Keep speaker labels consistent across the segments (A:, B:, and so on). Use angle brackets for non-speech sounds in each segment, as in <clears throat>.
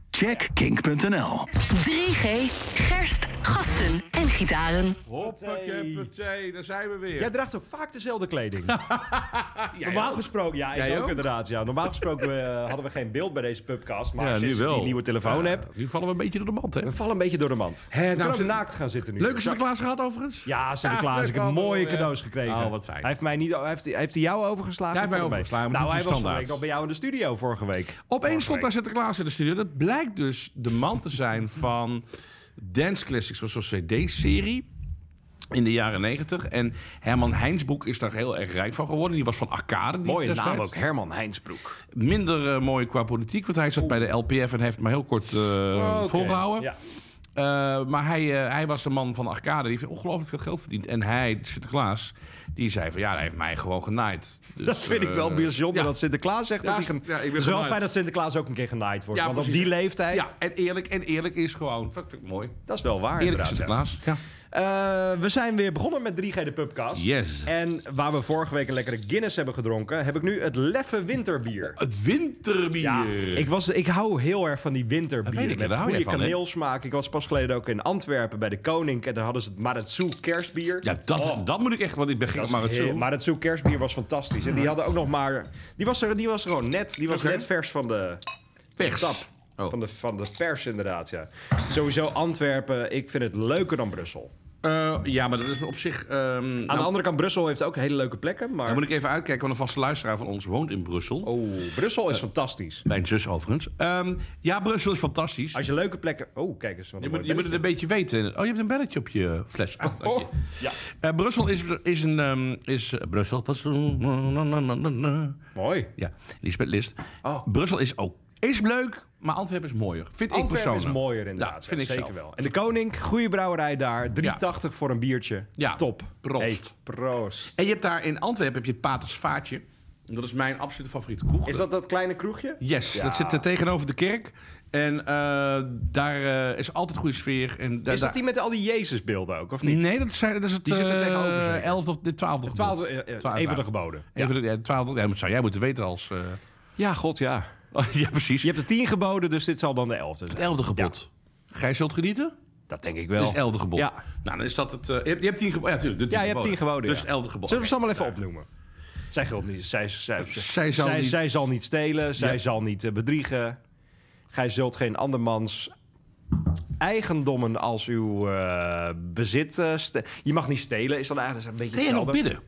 A: check kink.nl.
B: 3G, gerst, gasten en gitaren.
C: Hoppakee, partij, daar zijn we weer.
D: Jij draagt ook vaak dezelfde
C: <laughs>
D: kleding.
C: Jij
D: Normaal
C: ook?
D: gesproken, ja, ik
C: Jij
D: ook,
C: ook?
D: inderdaad. Ja. Normaal gesproken eh, hadden we geen beeld bij deze pubcast. Maar
C: Ja,
D: sinds ik die nieuwe telefoon
C: Ja,
D: heb,
C: Nu vallen we een beetje door de mand, hè?
D: we vallen een beetje door de mand.
C: Hè, nou,
D: we kunnen
C: ze-
D: ook naakt gaan zitten nu.
C: Leuke
D: Dat-
C: Sinterklaas gehad, overigens?
D: Ja, Sinterklaas.
C: Ja,
D: ik heb
C: leuk
D: mooie
C: allemaal,
D: cadeaus
C: ja.
D: gekregen.
C: Oh, wat fijn.
D: Hij heeft, mij niet, hij heeft, hij heeft hij jou overgeslagen?
C: Hij heeft mij
D: Of mij?
C: overgeslagen, maar
D: Nou,
C: dat is
D: hij was vorige
C: standaard.
D: week nog bij jou in de studio vorige week.
C: Opeens stond daar
D: Vorige
C: Sinterklaas in de studio. Dat blijkt dus de man te zijn <laughs> van Dance Classics, was zo'n cd-serie. In de jaren 90. En Herman Heinsbroek is daar heel erg rijk van geworden. Die was van Arcade. die
D: Mooie
C: destijds.
D: naam ook, Herman Heinsbroek.
C: Minder eh, mooi qua politiek. Want hij zat bij de LPF en heeft maar heel kort eh,
D: Oké,
C: volgehouden.
D: Ja.
C: Eh, maar hij, eh, hij was de man van Arcade. Die heeft ongelooflijk veel geld verdiend. En hij, Sinterklaas, die zei van... Ja, hij heeft mij gewoon genaaid. Dus,
D: Dat vind ik wel
C: eh,
D: bijzonder
C: ja.
D: dat Sinterklaas zegt
C: Ja,
D: dat hij... gen-
C: ja, ik ben
D: het is wel
C: genaaid.
D: fijn dat Sinterklaas ook een keer genaaid wordt.
C: Ja,
D: want op
C: precies.
D: die leeftijd,
C: Ja, en eerlijk, en eerlijk is gewoon... Dat vind ik mooi.
D: dat is wel waar
C: Eerlijk is
D: inderdaad. ja.
C: Sinterklaas. Ja.
D: Eh, we zijn weer begonnen met 3G de Pubcast.
C: Yes.
D: En waar we vorige week een lekkere Guinness hebben gedronken, heb ik nu het Leffe Winterbier.
C: Het winterbier.
D: Ja, ik, was, ik hou heel erg van die
C: Dat
D: winterbier.
C: weet ik,
D: met
C: daar hou
D: goede
C: jij van, hè?
D: kaneelsmaak. Ik was pas geleden ook in Antwerpen bij de Koning. En daar hadden ze het Maratsu kerstbier.
C: Ja, dat,
D: Oh,
C: dat moet ik echt... Want ik ben gek
D: dat
C: op
D: is heel-
C: Maratsu.
D: Maratsu kerstbier was fantastisch. En die hadden ook nog maar... Die was er, die was er gewoon net. Die was
C: Oké.
D: net vers van de
C: Pers.
D: tap.
C: Oh.
D: Van, de, van de pers inderdaad, ja. Sowieso Antwerpen. Ik vind het leuker dan Brussel.
C: Eh, ja, maar dat is op zich... ehm, nou,
D: Aan de andere kant, Brussel heeft ook hele leuke plekken. Maar...
C: dan moet ik even uitkijken, want een vaste luisteraar van ons woont in Brussel.
D: Oh, Brussel is fantastisch.
C: Mijn zus overigens. Ehm, ja, Brussel is fantastisch.
D: Als je leuke plekken... Oh, kijk eens. Wat
C: Je
D: een
C: moet, je
D: mooi
C: moet het
D: belletje.
C: een beetje weten. Oh, je hebt een belletje op je fles. Ah, dank je.
D: Oh, ja,
C: Eh, Brussel is, is een... ehm, is, eh, Brussel...
D: mooi.
C: Ja, Lisbeth List.
D: Oh.
C: Brussel is ook... Is leuk, maar Antwerpen is mooier. Vind ik
D: Antwerpen
C: persoonlijk.
D: is mooier inderdaad.
C: Ja, vind
D: Ja,
C: ik
D: zeker
C: zelf.
D: wel. En de Koning, goede brouwerij daar. 3,80 voor een biertje.
C: Ja,
D: Top.
C: proost.
D: proost.
C: En je hebt daar in Antwerpen heb je het Paters Vaatje. Dat is mijn absolute favoriete kroeg.
D: Is dat dat kleine kroegje?
C: Yes,
D: Ja.
C: dat zit eh, tegenover de kerk. En eh, daar eh, is altijd goede sfeer. En daar-
D: Is dat die met al die Jezusbeelden ook, of
C: daar-
D: niet?
C: Nee, dat, zijn, dat is het
D: Die zitten
C: eh,
D: tegenover, zeker?
C: 11 of de 12 e
D: Twaalfde, eh, eh, een van de geboden.
C: Ja. Even, de- ja, 12, ja, dat zou jij moeten weten als... eh, <laughs>
D: Ja, god ja.
C: oh, ja, precies.
D: Je hebt de tien geboden, dus dit zal dan de elfde zijn.
C: het elfde gebod. Gij zult genieten?
D: Dat denk ik
C: Dat
D: wel.
C: is het elfde gebod.
D: Ja.
C: Nou, dan is dat het... eh, je, hebt, je hebt tien geboden. Ja, natuurlijk. de
D: Ja, je hebt tien geboden,
C: Dus
D: ja.
C: het elfde gebod.
D: Zullen we ze allemaal even opnoemen? Zij geldt niet. Zij, zij,
C: Zij zal
D: zij,
C: niet-
D: zij zal niet stelen. Zij
C: Ja.
D: zal niet eh, bedriegen. Gij zult geen andermans eigendommen als uw eh, bezit. eh, ste- je mag niet stelen, is dan eigenlijk een beetje.
C: Kun je nog
D: hetzelfde.
C: bidden?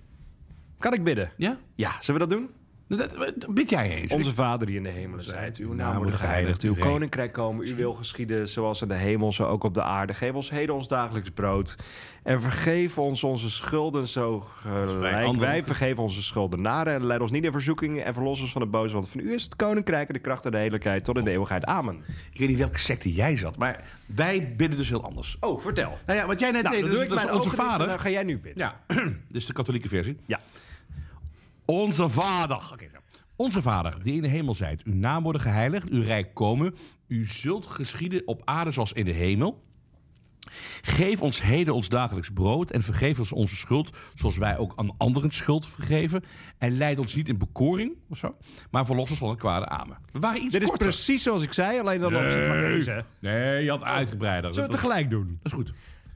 D: Kan ik bidden?
C: Ja?
D: Ja, zullen we dat doen?
C: Dat, dat- bid jij eens.
D: Onze Vader die in de hemelen zijt, uw naam wordt
C: geheiligd,
D: geheiligd, uw
C: uw rijk-
D: koninkrijk komen, uw wil geschieden, zoals in de hemel, zo ook op de aarde. Geef ons heden ons dagelijks brood en vergeef ons onze schulden, zo
C: wij
D: gelijk
C: anderen-
D: wij vergeven onze schuldenaren. En leid ons niet in verzoeking en verlos ons van de boze, want van u is het koninkrijk en de kracht en de heerlijkheid tot in de
C: Oh.
D: eeuwigheid. Amen.
C: Ik weet niet welke secte jij zat, maar wij bidden dus heel anders.
D: Oh, vertel.
C: Nou ja, wat jij net
D: Nou,
C: deed,
D: dan
C: dus,
D: doe ik
C: dat is
D: mijn
C: onze
D: ogen dicht en
C: vader.
D: Dan ga jij nu binnen.
C: Ja, <clears throat> dus de katholieke versie.
D: Ja.
C: Onze Vader. Oké, zo. Onze Vader, die in de hemel zijt. Uw naam worden geheiligd, uw rijk komen. U zult geschieden op aarde zoals in de hemel. Geef ons heden ons dagelijks brood en vergeef ons onze schuld, zoals wij ook aan anderen schuld vergeven. En leid ons niet in bekoring of zo, maar verlos ons van het kwade. Amen. We waren iets
D: Dit is
C: korter.
D: precies zoals ik zei, alleen dan was het van
C: Nee.
D: deze. Zullen
C: Nee, je had uitgebreider.
D: we
C: Dat
D: het
C: was-
D: tegelijk doen?
C: dat is goed.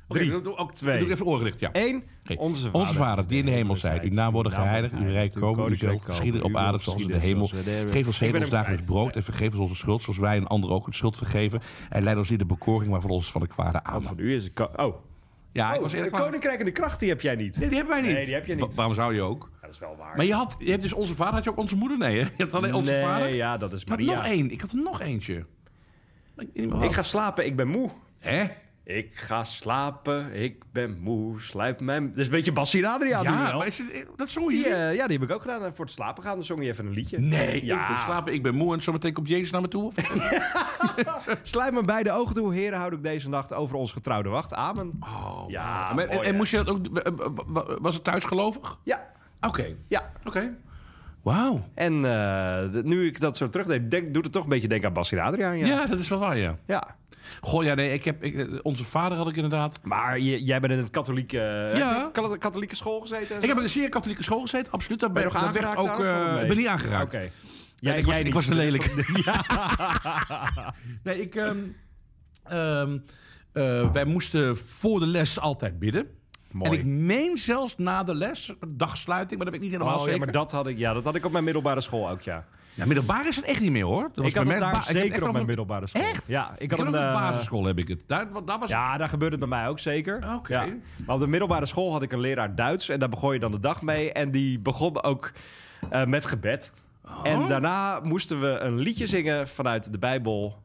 C: Oké,
D: Drie,
C: dat doe ik ook
D: twee.
C: Dat Doe ik even oorgericht, ja.
D: Eén,
C: Oké.
D: onze vader.
C: Onze Vader, die in de hemel zijt, uw naam worden geheiligd, uw rijk komen, uw
D: koninkrijk
C: zult
D: komen,
C: geschieden op
D: uw
C: aarde
D: wil
C: zoals in de
D: geschieden
C: hemel.
D: zoals in de hemel.
C: Geef ons
D: Ik ben
C: heden ons
D: hem
C: dagelijks
D: kwijt.
C: brood en vergeef ons onze schuld, zoals wij en anderen ook hun schuld vergeven. En leid ons niet de bekoring, maar verlos ons van de kwade aan.
D: Want van u is het... ko- Oh,
C: Ja, ik
D: Oh,
C: was
D: de
C: eerlijk klaar.
D: koninkrijk en de kracht die heb jij niet.
C: Nee, die hebben wij niet.
D: Nee, die heb je niet.
C: Wa- waarom zou je ook?
D: dat is wel waar.
C: Maar je had, je hebt dus onze vader, had je ook onze moeder? Nee, hè? <laughs> Je had alleen onze
D: nee,
C: vader. Ik
D: ja, dat is
C: had
D: Maria.
C: nog één. Ik had er nog eentje. Ik,
D: Ik ga slapen, ik ben moe.
C: Hè?
D: Ik ga slapen, ik ben moe. Sluip mijn... Dat is een beetje Bassie en Adriaan nu
C: ja,
D: wel.
C: maar is het, dat zong
D: Die,
C: je?
D: eh, ja, die heb ik ook gedaan. En voor het slapen gaan, dan zong je even een liedje.
C: Nee,
D: Ja.
C: ik moet slapen, ik ben moe en zometeen komt Jezus naar me toe. Of?
D: Sluit me bij de ogen toe. Heren, houd ik deze nacht over ons getrouwde wacht. Amen.
C: Oh,
D: Ja,
C: maar-
D: mooi,
C: en,
D: hè?
C: moest je dat ook... eh, eh, Was het thuis gelovig?
D: Ja,
C: Oké.
D: ja.
C: Oké. Wauw.
D: En eh, d- nu ik dat zo terugdeed, denk, doet het toch een beetje denken aan Bassie en Adriaan.
C: Ja.
D: Ja.
C: dat is wel waar, ja.
D: Ja.
C: Goh, ja, nee, ik heb, ik, eh, onze vader had ik inderdaad.
D: Maar j- jij bent in het katholieke, eh,
C: Ja.
D: heb je in de katholieke school gezeten? en
C: Ik
D: zo?
C: heb in een zeer katholieke school gezeten, absoluut. Daar
D: Ben je
C: ben,
D: nog
C: dat werd
D: aangeraakt
C: ook,
D: daar, of
C: eh,
D: nee?
C: ik ben niet aangeraakt.
D: Oké.
C: Ja, ik, was,
D: niet,
C: ik was te
D: dus <laughs>
C: lelijk.
D: dat-
C: Nee, ik, ehm, ehm, eh, wij moesten voor de les altijd bidden. <laughs>
D: Mooi.
C: En ik meen zelfs na de les, dagsluiting, maar dat weet ik niet helemaal
D: Oh, ja,
C: zeker.
D: maar dat had ik, ja, dat had ik op mijn middelbare school ook, ja.
C: Nou, middelbaar is het echt niet meer hoor. Dat was
D: ik had
C: bij
D: het
C: mij-
D: daar
C: ba- ik had
D: zeker
C: echt
D: op
C: over-
D: mijn middelbare school.
C: Echt?
D: Ja, ik had
C: Ik had
D: een...
C: op de
D: eh,
C: basisschool heb ik het. Daar, daar was
D: ja, daar gebeurde het bij mij ook zeker.
C: Oké.
D: Ja. Maar op de middelbare school had ik een leraar Duits. En daar begon je dan de dag mee. En die begon ook eh, met gebed.
C: Oh.
D: En daarna moesten we een liedje zingen vanuit de Bijbel.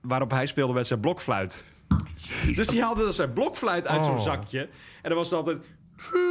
D: Waarop hij speelde met zijn blokfluit. Dus die haalde zijn blokfluit uit
C: Oh.
D: zo'n zakje. En dan was het altijd...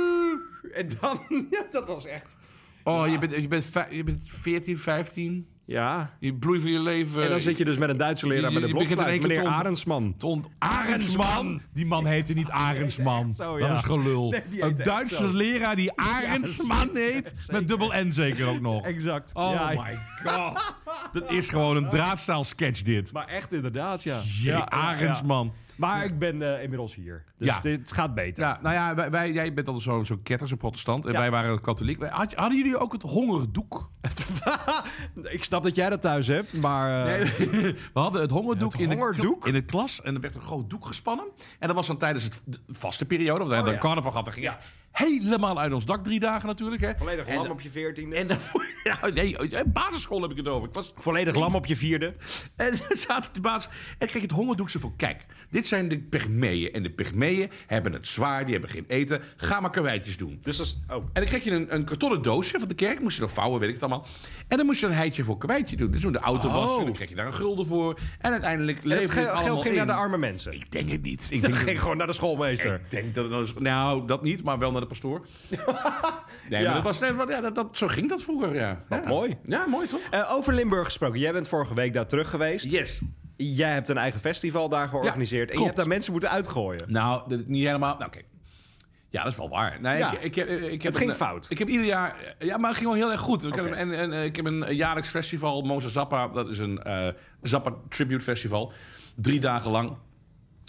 D: <laughs> En dan... <laughs> Ja, dat was echt...
C: Oh, je, bent, je, bent vij- je bent 14, 15.
D: Ja.
C: Je bloei van je leven.
D: En dan zit je dus met een Duitse leraar
C: je-
D: met een
C: je begint in één
D: blokfluit.
C: keer
D: Meneer
C: te ont-
D: Arendsman.
C: Ton Arendsman. Die man heette niet Arendsman.
D: echt zo,
C: Dat
D: ja.
C: is gelul.
D: Nee, <laughs> die
C: een
D: heette echt
C: Duitse
D: zo.
C: leraar die Arendsman heet. Met dubbel N zeker ook nog.
D: Exact.
C: Oh
D: Ja,
C: my
D: <laughs>
C: god. Dat is gewoon een draadstaal sketch dit.
D: Maar echt inderdaad, ja.
C: Jee,
D: ja, ja.
C: Arendsman.
D: Maar ik ben eh, inmiddels hier. Dus
C: Ja.
D: dit gaat beter.
C: Ja, nou ja, wij, wij- jij bent altijd zo'n zo ketter, zo'n protestant. En
D: Ja.
C: wij waren katholiek. Wij- had- hadden jullie ook het hongerdoek? <laughs>
D: <laughs> ik snap dat jij dat thuis hebt, maar... eh,
C: We hadden het hongerdoek,
D: Het
C: In, de,
D: hongerdoek?
C: kla- in de klas. En er werd een groot doek gespannen. En dat was dan tijdens het, de vaste periode. Of de
D: Oh, ja.
C: carnaval gaf. Dan ging ja, helemaal uit ons dak. Drie dagen natuurlijk. Hè.
D: Volledig
C: En-
D: lam op je veertiende.
C: En dan- <laughs> ja, nee, eh, basisschool heb ik het over. Ik was,
D: Volledig lam op je vierde.
C: en <laughs> dan zaten op de basis. En kreeg het hongerdoek ze van: kijk, dit zijn de pygmeeën. En de pygmeeën hebben het zwaar, die hebben geen eten. Ga maar karweitjes doen.
D: Dus dat is... Oh.
C: En dan kreeg je een, een kartonnen doosje van de kerk. Moest je dan vouwen, weet ik het allemaal. En dan moest je een heitje voor kwijtje doen. Dus toen de auto was,
D: Oh.
C: en dan kreeg je daar een gulden voor. En uiteindelijk
D: En het
C: leefde
D: ge-
C: het allemaal
D: geld ging
C: in.
D: naar de arme mensen.
C: Ik denk het niet. Ik
D: Dat
C: denk,
D: ging gewoon naar de schoolmeester.
C: ik denk dat het... Nou, dat niet, maar wel naar de
D: <laughs>
C: pastoor. nee, maar
D: Ja.
C: dat was... Nee, wat- ja, dat, dat, zo ging dat vroeger, ja.
D: Wat
C: Ja.
D: mooi.
C: Ja, mooi toch?
D: Eh, over Limburg gesproken. Jij bent vorige week daar terug geweest.
C: Yes.
D: Jij hebt een eigen festival daar georganiseerd. en
C: klopt.
D: je hebt daar mensen moeten uitgooien.
C: Nou, dat is niet helemaal. Nou, oké. Ja, dat is wel waar. Nee,
D: Ja.
C: ik, ik, heb- ik, heb
D: Het ging
C: een- eh,
D: fout.
C: Ik heb ieder jaar. Ja, maar het ging wel heel erg goed. Ik, heb,
D: Oké.
C: en, en, eh, ik heb een jaarlijks festival, Moza Zappa. Dat is een eh Zappa Tribute Festival. Drie dagen lang.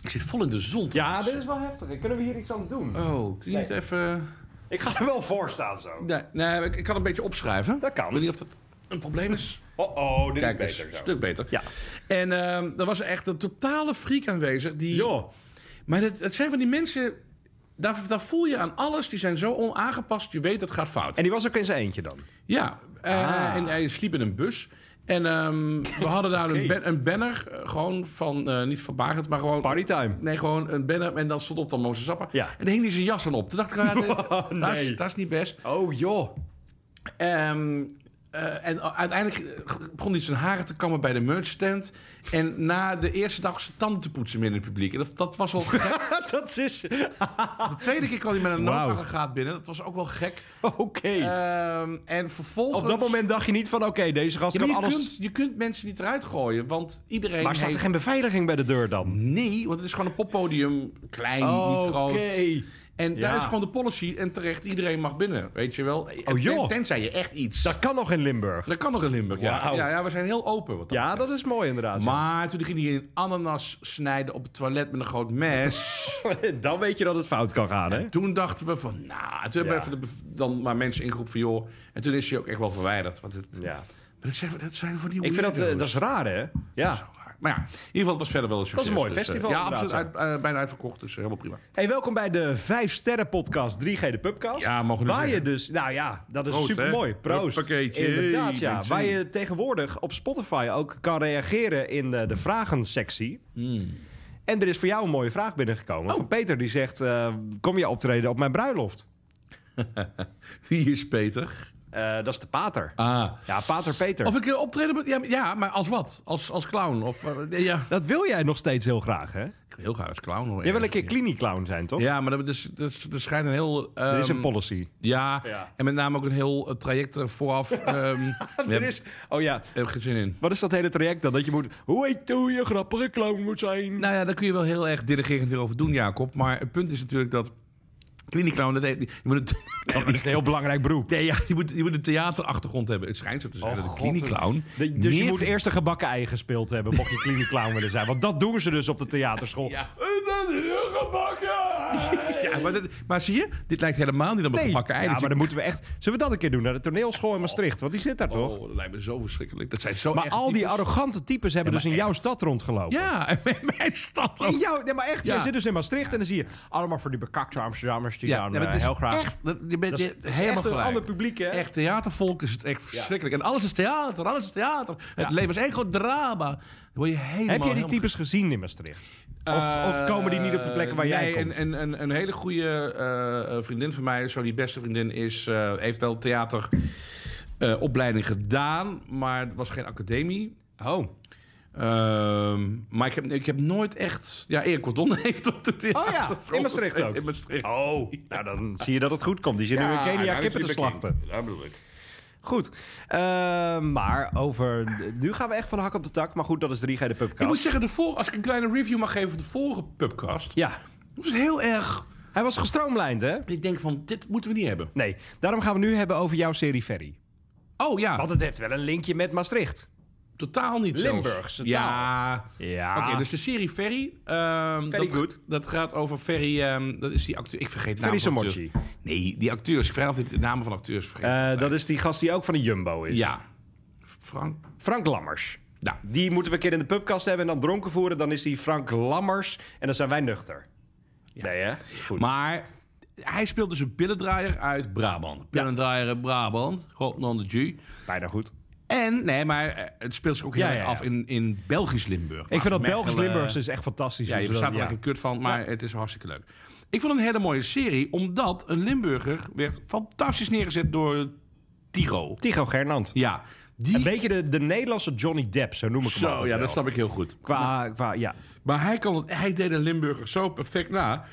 C: Ik zit vol in de zon.
D: Ja,
C: trouwens.
D: dit is wel heftig. Kunnen we hier iets aan doen?
C: Oh, kun je niet
D: Nee.
C: even.
D: Ik ga er wel voor staan zo.
C: Nee, nee ik, ik kan een beetje opschrijven.
D: Dat kan.
C: Ik weet niet of dat een probleem is.
D: Oh, oh, dit
C: Kijk,
D: is
C: eens,
D: beter
C: een
D: zo.
C: stuk beter.
D: Ja.
C: En ehm er was echt een totale freak aanwezig. Die,
D: Joh.
C: Maar het, het zijn van die mensen. Daar, daar voel je aan alles. Die zijn zo onaangepast. Je weet het gaat fout.
D: En die was ook in zijn eentje dan?
C: ja. eh,
D: Ah.
C: En hij sliep in een bus. En ehm, we
D: <laughs>
C: hadden daar een,
D: Oké.
C: ban- een banner. eh, Gewoon van. eh, niet van Barend, maar gewoon.
D: Partytime.
C: Nee, gewoon een banner. En dan stond op dan Mozes Zappa.
D: Ja. Oh,
C: En daar hing hij zijn jas aan op. Toen dacht ik, ah,
D: <laughs>
C: dit- dat, is,
D: nee.
C: dat is niet best.
D: Oh joh. <laughs>
C: Ehm, eh, en uiteindelijk begon hij zijn haren te kammen bij de merch stand. En na de eerste dag zijn tanden te poetsen midden in het publiek. En dat, dat was al
D: <laughs>
C: gek.
D: dat is...
C: De tweede keer kwam hij met een
D: Wauw.
C: noodaggregaat binnen. Dat was ook wel gek.
D: Oké.
C: Ehm, en vervolgens...
D: Op dat moment dacht je niet van, oké, deze gast
C: Ja, maar
D: kan
C: je,
D: alles...
C: kunt, je kunt mensen niet eruit gooien, want iedereen
D: Maar staat er
C: heeft...
D: geen beveiliging bij de deur dan?
C: Nee, want het is gewoon een poppodium. Klein, niet groot. En daar
D: Ja. Oh,
C: is gewoon de policy. En terecht, iedereen mag binnen, weet je wel. En ten-
D: joh.
C: tenzij je echt iets...
D: Dat kan nog in Limburg.
C: Dat kan nog in Limburg, ja.
D: Wauw.
C: ja. Ja, we zijn heel open wat dat
D: Ja,
C: betreft.
D: dat is mooi inderdaad.
C: Maar toen ging hij een ananas snijden op het toilet met een groot mes.
D: dan weet je dat het fout kan gaan, <laughs> hè?
C: toen dachten we van, nou, toen hebben we
D: Ja.
C: even de bev- dan maar mensen ingeroepen van, joh. En toen is hij ook echt wel verwijderd. Want het,
D: Ja.
C: Maar dat zijn, dat zijn van die
D: Ik vind dat, eh,
C: weirdo's.
D: dat is raar, hè? Ja.
C: Zo raar. Maar ja, in ieder geval, het was verder wel een succes.
D: is een mooi
C: Dus, eh,
D: festival,
C: ja,
D: inderdaad,
C: absoluut. Uit, eh, bijna uitverkocht, dus helemaal prima.
D: Hey, welkom bij de 5 Sterren Podcast 3G de Pubcast.
C: Ja, mogen we
D: Waar
C: zeggen.
D: je dus, nou ja, dat is
C: Proost,
D: supermooi.
C: hè?
D: Proost.
C: Huppakeetje.
D: Inderdaad, ja.
C: Benzine.
D: Waar je tegenwoordig op Spotify ook kan reageren in de, de vragensectie. Hmm. En er is voor jou een mooie vraag binnengekomen.
C: Oh.
D: Van Peter die zegt: eh, Kom je optreden op mijn bruiloft?
C: Wie is Peter?
D: Eh, dat is de pater.
C: Ah.
D: Ja, pater Peter.
C: Of ik eh, optreden moet- ja, maar- Ja, maar als wat? Als, als clown? Of, eh, nee, ja.
D: Dat wil jij nog steeds heel graag, hè?
C: Ik wil heel graag als clown. Hoor,
D: Jij wil een
C: ergens
D: keer klinie-clown zijn, toch?
C: Ja, maar dat, dus, dus, er schijnt een heel...
D: Er is
C: ehm,
D: een policy.
C: Ja,
D: Ja.
C: en met name ook een heel eh, traject er vooraf. ehm
D: <laughs> Er is... Oh ja,
C: Heb ik geen zin in.
D: wat is dat hele traject dan? Dat je moet... Hoe heet hoe je grappige clown moet zijn?
C: Nou ja, daar kun je wel heel erg dirigerend weer over doen, Jacob. Maar het punt is natuurlijk dat Kliniekclown, dat heet... die moet het-
D: Nee, maar dat is een heel belangrijk beroep.
C: Nee, ja, je moet, je moet een theaterachtergrond hebben. Het schijnt zo te zijn
D: Oh,
C: dat een kliniekclown...
D: De- dus je
C: meer-
D: moet eerst een gebakken ei gespeeld hebben, mocht je kliniek clown willen zijn. Want dat doen ze dus op de theaterschool.
C: Ja.
D: En dan heel gebakken
C: <laughs>
D: ei.
C: Ja, maar, dat- maar zie je, dit lijkt helemaal niet op een
D: Nee,
C: gebakken ei.
D: ja,
C: Dat
D: maar
C: je-
D: dan moeten we echt... Zullen we dat een keer doen, naar de toneelschool in Maastricht? Want die zit daar toch?
C: Oh, dat lijkt me zo verschrikkelijk. Dat zijn zo
D: Maar
C: echte
D: al die
C: types.
D: arrogante types hebben dus in jouw stad rondgelopen. Oh.
C: Ja, <laughs> en mijn, mijn stad ook.
D: In jouw, nee, maar echt,
C: Ja.
D: jij zit dus in Maastricht en dan zie je allemaal voor die bekakte Amsterdammers die dan
C: nee, maar
D: eh,
C: het is
D: heel graag...
C: Echt, dat, je bent
D: Dat is-
C: je-
D: dat is
C: helemaal
D: echt een
C: gelijk.
D: ander publiek, hè?
C: Echt theatervolk is het echt verschrikkelijk. En alles is theater, alles is theater. Het
D: Ja.
C: leven is één groot drama. Dan word je helemaal...
D: Heb jij die
C: helemaal-
D: types gezien in Maastricht? Of, of
C: Eh,
D: komen die niet op de plekken waar jij
C: nee,
D: komt?
C: Een, een, een, een hele goede eh, eh, vriendin van mij, zo die beste vriendin, is, eh, heeft wel theateropleiding opleiding gedaan, maar het was geen academie.
D: Oh.
C: Ehm, maar ik heb, ik heb nooit echt... Ja, Erik Cordon <laughs> heeft op de theater...
D: Oh in Maastricht ook.
C: In Maastricht.
D: Oh, nou dan zie je dat het goed komt. Die zitten nu in Kenia
C: daar
D: kippen
C: is
D: te
C: hij bekend.
D: slachten.
C: Daar bedoel ik.
D: Goed. Eh, maar over... Nu gaan we echt van de hak op de tak. Maar goed, dat is 3G de
C: Ik moet
D: pubcast.
C: zeggen, de vor, als ik een kleine review mag geven van de vorige pubcast...
D: Ja.
C: Dat was heel erg...
D: Hij was gestroomlijnd, hè?
C: Ik denk van, dit moeten we niet hebben.
D: Nee. Daarom gaan we nu hebben over jouw serie Ferry.
C: Oh ja,
D: Want het heeft wel een linkje met Maastricht.
C: totaal niet zelfs.
D: Limburgse taal.
C: Ja.
D: Ja.
C: Oké, dus de serie Ferry. ehm,
D: Ah. Ferry
C: dat,
D: Good.
C: Dat gaat over Ferry... ehm, dat is die acteur... Ik vergeet de naam
D: Ferry
C: van acteurs.
D: Samorci.
C: Nee, die acteurs. Ik vraag altijd de namen van acteurs vergeten.
D: Eh, dat is die gast die ook van de Jumbo is.
C: Ja. Frank...
D: Frank Lammers.
C: Nou,
D: Die moeten we een keer in de pubkast hebben en dan dronken voeren. Dan is hij Frank Lammers en dan zijn wij nuchter. Nee, hè? Goed.
C: Maar hij speelt dus een pillendraaier uit Brabant. Pillendraaier uit Brabant, God non de G.
D: Bijna goed.
C: En, nee, maar eh, het speelt zich ook heel
D: Ja,
C: erg
D: ja, ja.
C: af in, in Belgisch-Limburg.
D: Ik vind dat
C: Mechelen-
D: Belgisch-Limburgs is echt fantastisch.
C: Ja,
D: hoe
C: je
D: ze Dus dat-
C: verstaat er
D: eh, ja.
C: echt een kut van, maar het is hartstikke leuk. Ik vond het een hele mooie serie, omdat een Limburger werd fantastisch neergezet door Tigo.
D: Tycho Gernand.
C: Ja, die...
D: Een beetje de, de Nederlandse Johnny Depp, zo noem ik hem
C: Zo,
D: altijd
C: ja,
D: wel.
C: dat snap ik heel goed.
D: Qua, qua, ja.
C: Maar hij, kan het, hij deed een Limburger zo perfect na.